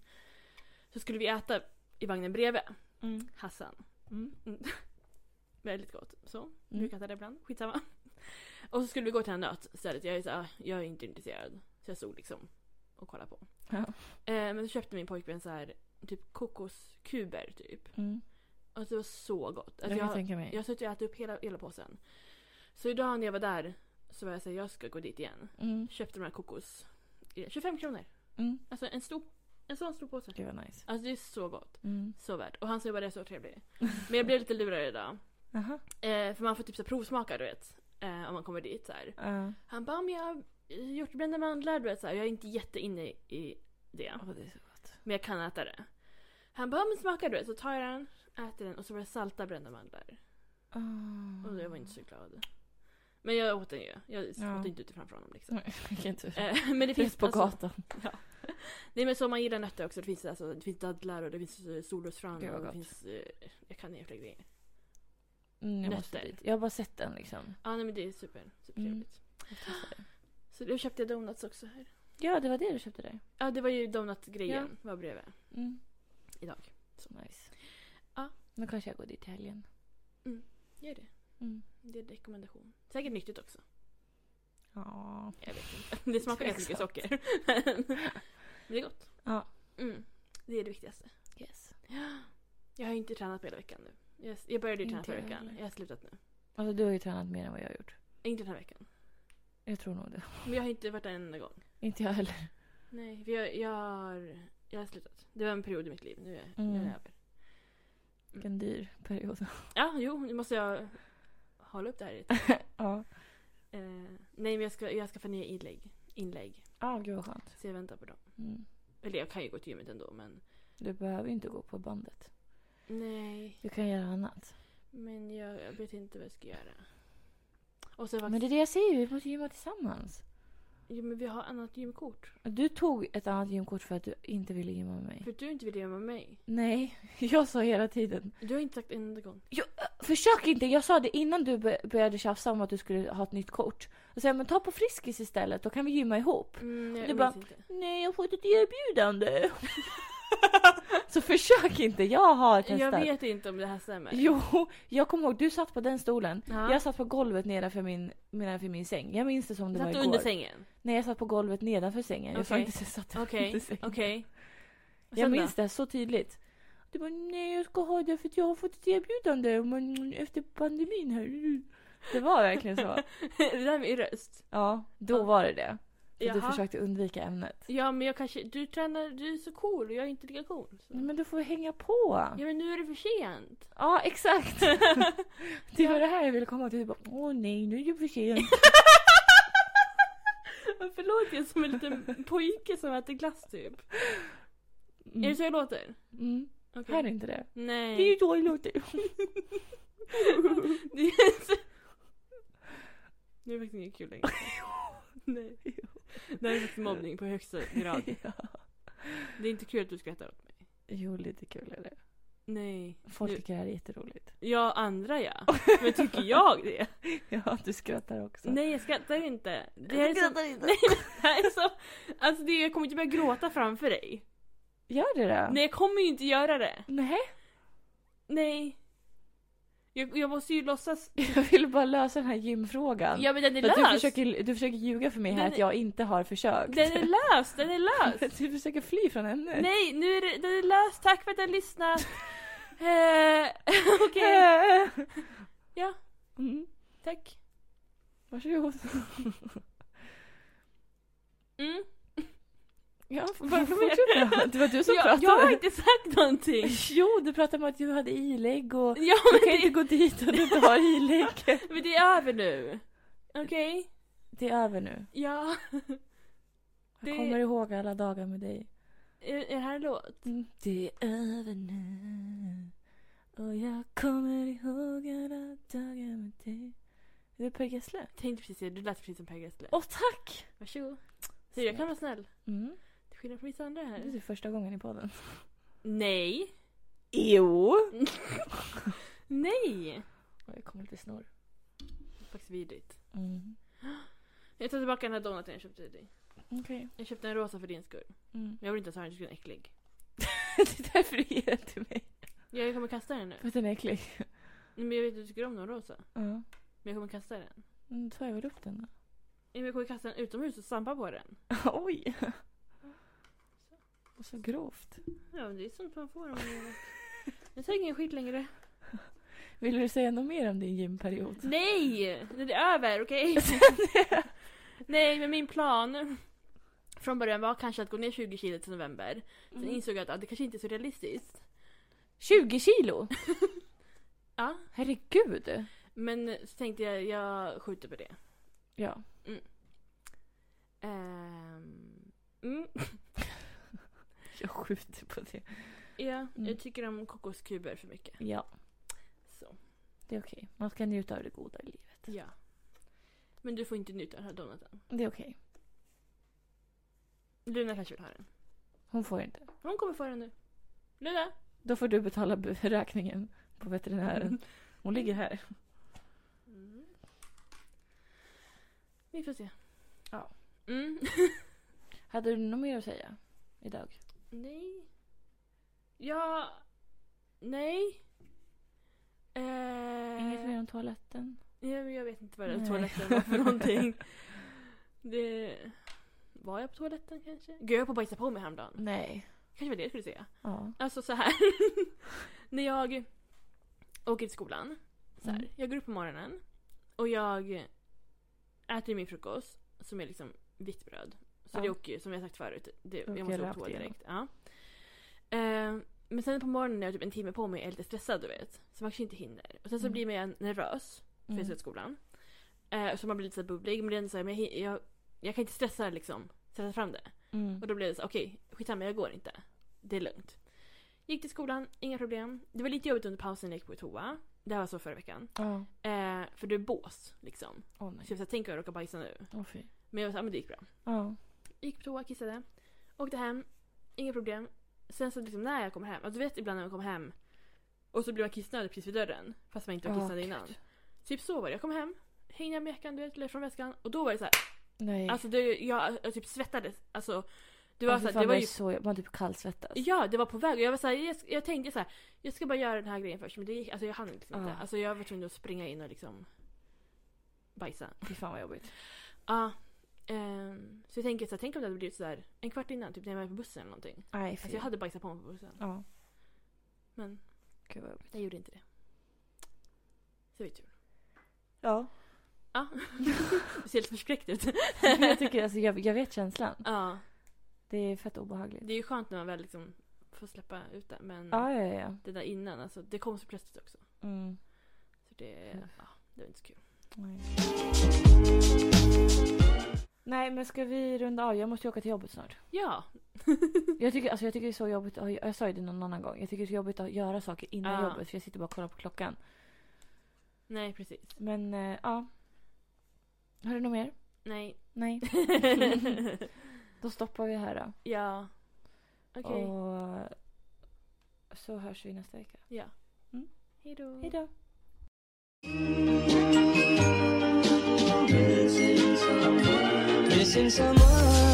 Så skulle vi äta i vagnen bredvid
Mm.
Hassan.
Mm.
Väldigt gott. Så, brukar äta det ibland. Skitsamma. (laughs) Och så skulle vi gå till en nöt istället. Jag är, så, här, "Ah, jag är inte intresserad. Så jag stod liksom och kollade på.
Ja.
Eh, men så köpte min pojkvän så här typ kokoskuber typ.
Mm.
Och det var så gott.
Jag kan
Alltså, jag,
tänka mig.
jag har suttit och ätit upp hela, hela påsen. Så idag när jag var där så var jag såhär, jag ska gå dit igen.
Mm.
Köpte de här kokos. eh, 25 kronor.
Mm.
Alltså en stor, en sån stor påse.
Gud vad nice.
Alltså det är så gott.
Mm.
Så värt. Och han sa ju bara det är så trevligt. Men jag blev lite lurad idag.
Jaha.
Eh, för man får typ så här provsmaka du vet. Eh, om man kommer dit så här.
Ja.
Han bara, men jag har gjort brända mandlar du vet så här. Jag är inte jätteinne i- i det.
Åh, det är så gott.
Men jag kan äta det. Han bara, men smaka du vet. Så tar jag den, äter den och så var det salta brända mandlar.
Oh.
Och jag var inte så glad. Men jag åt den ju. Jag åt
Ja.
inte ute framför honom
(laughs)
liksom.
Nej, vilken tur.
Eh, (laughs) men det
Det finns
finns
på
alltså,
gatan.
Nej men så om man gillar nötter också. Det finns, alltså, det finns dadlar och det finns eh, solrosfrön
Gud, vad
och det
gott.
finns... Eh, jag kan jävla grejer.
Mm, jag, måste
Nötter.
dit. jag har bara sett den liksom.
Ja nej men det är super, supertrevligt.
Jag testar det.
Så då köpte jag donuts också här.
Ja, det var det du köpte där.
Ja det var ju donutgrejen var bredvid
Mm.
idag.
Så nice.
Ja.
Då kanske jag går dit i helgen.
Gör det.
Mm.
Det är en rekommendation. Säkert nyttigt också. (laughs)
Ja.
Jag vet inte. Det smakar jättemycket mycket
Exakt.
socker. (laughs) men det är gott.
Ja.
Mm. Det är det viktigaste. (gasps)
Yes.
Jag har ju inte tränat på hela veckan nu. Jag, jag började ju träna
Inte
förra
jag
veckan.
heller.
Jag har slutat nu.
Alltså du har ju tränat mer än vad jag har gjort.
Inte den här veckan.
Jag tror nog det. (laughs)
Men jag har inte varit där en enda gång.
Inte jag heller.
Nej, för jag, jag, har, jag har slutat. Det var en period i mitt liv. Nu är, nu är
Mm.
det över.
Vilken dyr period.
Ja, jo, nu måste jag hålla upp det
(laughs)
här lite.
ja.
eh, nej, men jag ska, jag ska få nya inlägg. inlägg.
Ja, gud vad skönt.
Så jag väntar på dem.
Mm.
Eller jag kan ju gå till gymmet ändå, men
Du behöver ju inte gå på bandet.
nej.
Du kan göra annat.
Men jag, jag vet inte vad jag ska göra. Och så
Men
faktiskt,
det är det jag säger, vi måste gymma tillsammans.
jo, men vi har annat gymkort.
Du tog ett annat gymkort för att du inte ville gymma med mig.
För du inte vill göra med mig.
Nej, (laughs) jag sa hela tiden.
Du har inte sagt en enda gång.
Försök inte, jag sa det innan du bör- började tjafsa om att du skulle ha ett nytt kort. Och sen, men ta på Friskis istället, då kan vi gymma ihop.
Mm, jag
Du
minns
bara-
inte.
Nej, jag har fått ett erbjudande. (laughs) Så försök inte, jag har testat.
Jag vet inte om det här stämmer.
Jo, jag kommer ihåg, du satt på den stolen.
Ja.
Jag satt på golvet nedanför min, nedanför min säng. Jag minns det som det var
Satt du
igår.
under sängen?
Nej, jag satt på golvet nedanför sängen. Jag sa
Okej. (laughs)
inte så jag satt
Okej,
under sängen.
okej. Och
Jag
sen
minns
då?
det så tydligt. Du bara, nej jag ska ha det för att jag har fått ett erbjudande om en- efter pandemin här. Det var verkligen
(laughs)
så.
(laughs) det där med min röst.
Ja, då var det det. För du
Jaha.
försökte undvika ämnet.
Ja men jag kanske, du tränar, du är så cool och jag är inte lika cool. Så.
Nej, men du får vi hänga på.
Mm. Ja men nu är det för sent.
Ja, exakt. det var det här jag ville komma till. Du bara, åh nej, nu är det för
(laughs)
sent.
(laughs) Förlåt jag är som en (laughs) liten pojke som äter glass typ. Är det
Mm.
så jag låter?
Mm.
Okej.
Här är inte det.
Nej. (laughs)
Det är ju då det låter.
Det är så... Nu är det faktiskt inget kul längre. (laughs) Nej. Det här är faktiskt mobbning på högsta (laughs) grad.
(laughs) ja.
Det är inte kul att du skrattar åt mig.
Jo, lite kul är det.
Nej.
Folk
Nu-
tycker det här är jätteroligt.
Ja, andra (laughs) ja. Men tycker jag det?
(laughs) Ja, du skrattar också.
Nej, jag skrattar inte. Det här är så... Nej, men det här är så... Alltså, det, jag kommer inte börja gråta framför dig.
Gör det det?
Nej, jag kommer ju inte göra det.
Nej.
Nej. Jag, jag måste ju låtsas...
Jag vill bara lösa den här gymfrågan.
Ja, men den är
För att du,
löst.
försöker, du försöker ljuga för mig här
Den-
att jag inte har försökt.
Den är löst, den är
(laughs)
löst.
du försöker fly från ämnet. (laughs)
Nej, nu är det, det är löst. Tack för att ni har lyssnat. Eh, (laughs) Okej,
(laughs) Äh.
Ja.
Mm.
tack. (laughs)
Varsågod.
Mm.
(laughs) Ja, bara fortsätta. Det var du som
Jag, jag
pratade.
har inte sagt någonting.
(laughs) Jo, du pratade om att du hade ilägg och
Ja,
du
men
kan
det,
inte gå
(laughs)
dit om du inte har ilägg.
men det är över nu. Okej?
Det är över nu. (laughs)
Ja.
Jag
Det-
kommer ihåg alla dagar med dig.
Är, är det här en låt?
Det är över nu och jag kommer ihåg alla dagar med dig. Det är Per Gessle.
Jag tänkte precis det. Du lät precis som Per Gessle.
Åh, tack!
Varsågod. Så jag kan vara snäll.
Mm.
Till skillnad från vissa andra
Det är
här.
typ första gången i podden.
Nej.
Jo!
Nej.
Jag kommer lite snor.
Det är Faktiskt vidrigt.
Mm.
Jag tar tillbaka den här donaten jag köpte till dig.
Okej.
Jag köpte en rosa för din skull.
Mm.
Jag vill inte ens ha den, jag tycker den är äcklig.
(laughs) det är därför du ger den till mig.
Jag kommer kasta den nu.
För att den är äcklig.
Nej, Men jag vet att du tycker om den rosa.
Ja.
Men jag kommer kasta den.
Mm, tar jag väl upp den då.
Nej, men Jag kommer kasta den utomhus och stampa på den.
(laughs) Oj! Och så grovt.
Ja, men det är sånt man får om man (laughs) Jag tar ingen skit längre.
Vill du säga något mer om din gymperiod?
Nej! Det är över, (laughs) okej? Nej, men min plan från början var kanske att gå ner 20 kilo till november. Sen insåg jag att ah, det kanske inte är så realistiskt.
20 (laughs) kilo?
Ja.
Herregud!
Men så tänkte jag, jag skjuter på det.
Ja.
Ehm, mm,
Jag skjuter på det.
ja,
Mm.
jag tycker om kokoskuber för mycket.
Ja,
Så,
det är okej. Man ska njuta av det goda i livet.
ja. Men du får inte njuta av den här donaten.
Det är okej.
Luna kanske vill ha den.
Hon får inte.
Hon kommer få den nu. Luna!
Då får du betala b- räkningen på veterinären. Mm. Hon ligger här. Mm.
Vi får se.
Ja. (laughs)
Mm.
Hade du något mer att säga idag?
Nej. Ja. Nej. Eh,
Inget mer om toaletten?
nej, men jag vet inte vad det
Nej.
toaletten var
(laughs)
för någonting. Det... Var jag på toaletten kanske? Gud, jag var på att bajsa på mig häromdagen.
Nej.
Kanske var det jag skulle säga.
Ja.
Alltså så här. (laughs) När jag åker till skolan. Så här.
Mm.
Jag går upp på morgonen. Och jag äter min frukost. Som är liksom vitt bröd. Så
Ja.
det åker ju, som jag sagt förut. Det,
åker
jag måste gå
rakt
på toa
igenom.
direkt. Ja. Eh, men sen på morgonen när jag har typ en timme på mig är jag lite stressad du vet. Så man kanske inte hinner. Och sen så
Mm.
blir man nervös. För jag ska till skolan. Eh, så man blir lite så här bubblig. Men det är ändå så här, men jag, hin- jag, jag kan inte stressa liksom. Stressa fram det.
Mm.
Och då blev det så okej, skitsamma jag går inte. Det är lugnt. Gick till skolan, inga problem. Det var lite jobbigt under pausen när jag gick på toa. Det här var så förra veckan.
Ja.
Eh, för det är bås liksom.
Åh
Så jag
nej.
tänkte tänk om jag råkar bajsa nu.
Åh fy.
Men jag var såhär, men det gick bra.
Ja.
Gick på toa, kissade. Åkte hem, inga problem. Sen så liksom när jag kom hem, alltså du vet ibland när man kommer hem och så blir man kissnödig precis vid dörren. Fast man inte var
Ja,
kissnödig
gud.
innan. Typ så var det. Jag kom hem, hängde med jackan du vet, eller från väskan. Och då var det så här,
Nej.
alltså det, jag, jag typ svettades. Alltså det
det
var
var,
så här, det var ju
så, man typ kallsvettas.
Ja, det var på väg. Och jag, var så här, jag, jag tänkte så här, jag ska bara göra den här grejen först. Men det gick, alltså jag hann liksom inte.
Ah.
Alltså jag var tvungen att springa in och liksom bajsa.
Fy fan vad jobbigt.
Ja. ehm, så jag tänker så här, tänk om det hade blivit så här en kvart innan, typ när jag var på bussen eller någonting.
Nej, fy.
Alltså jag hade bajsat på mig på bussen.
Ja.
Men
Gud vad jobbigt.
jag gjorde inte det. Så det var ju tur.
Ja. (laughs)
Ja. Du ser helt förskräckt ut.
Men (laughs) jag, tycker, alltså, jag, jag vet känslan.
ja.
Det är fett obehagligt.
Det är ju skönt när man väl liksom får släppa ut det. Men
Ja, ja, ja.
det där innan, alltså, det kom så plötsligt också.
Mm.
Så det,
Mm.
ja, det var inte så kul.
Nej. Nej, men ska vi runda av? Jag måste ju åka till jobbet snart.
Ja,
Jag tycker, alltså, jag tycker det är så jobbigt. att- Jag sa ju det någon annan gång. Jag tycker det är så jobbigt att göra saker innan
Ja.
jobbet för jag sitter bara och kollar på klockan.
nej precis.
Men eh, ja. Har du något mer?
Nej. (laughs)
Nej. Då stoppar vi här då.
ja. Okej.
Och så hörs vi nästa vecka.
Ja.
Mm.
Hej då.
Hej då.
Missing someone. Missing someone.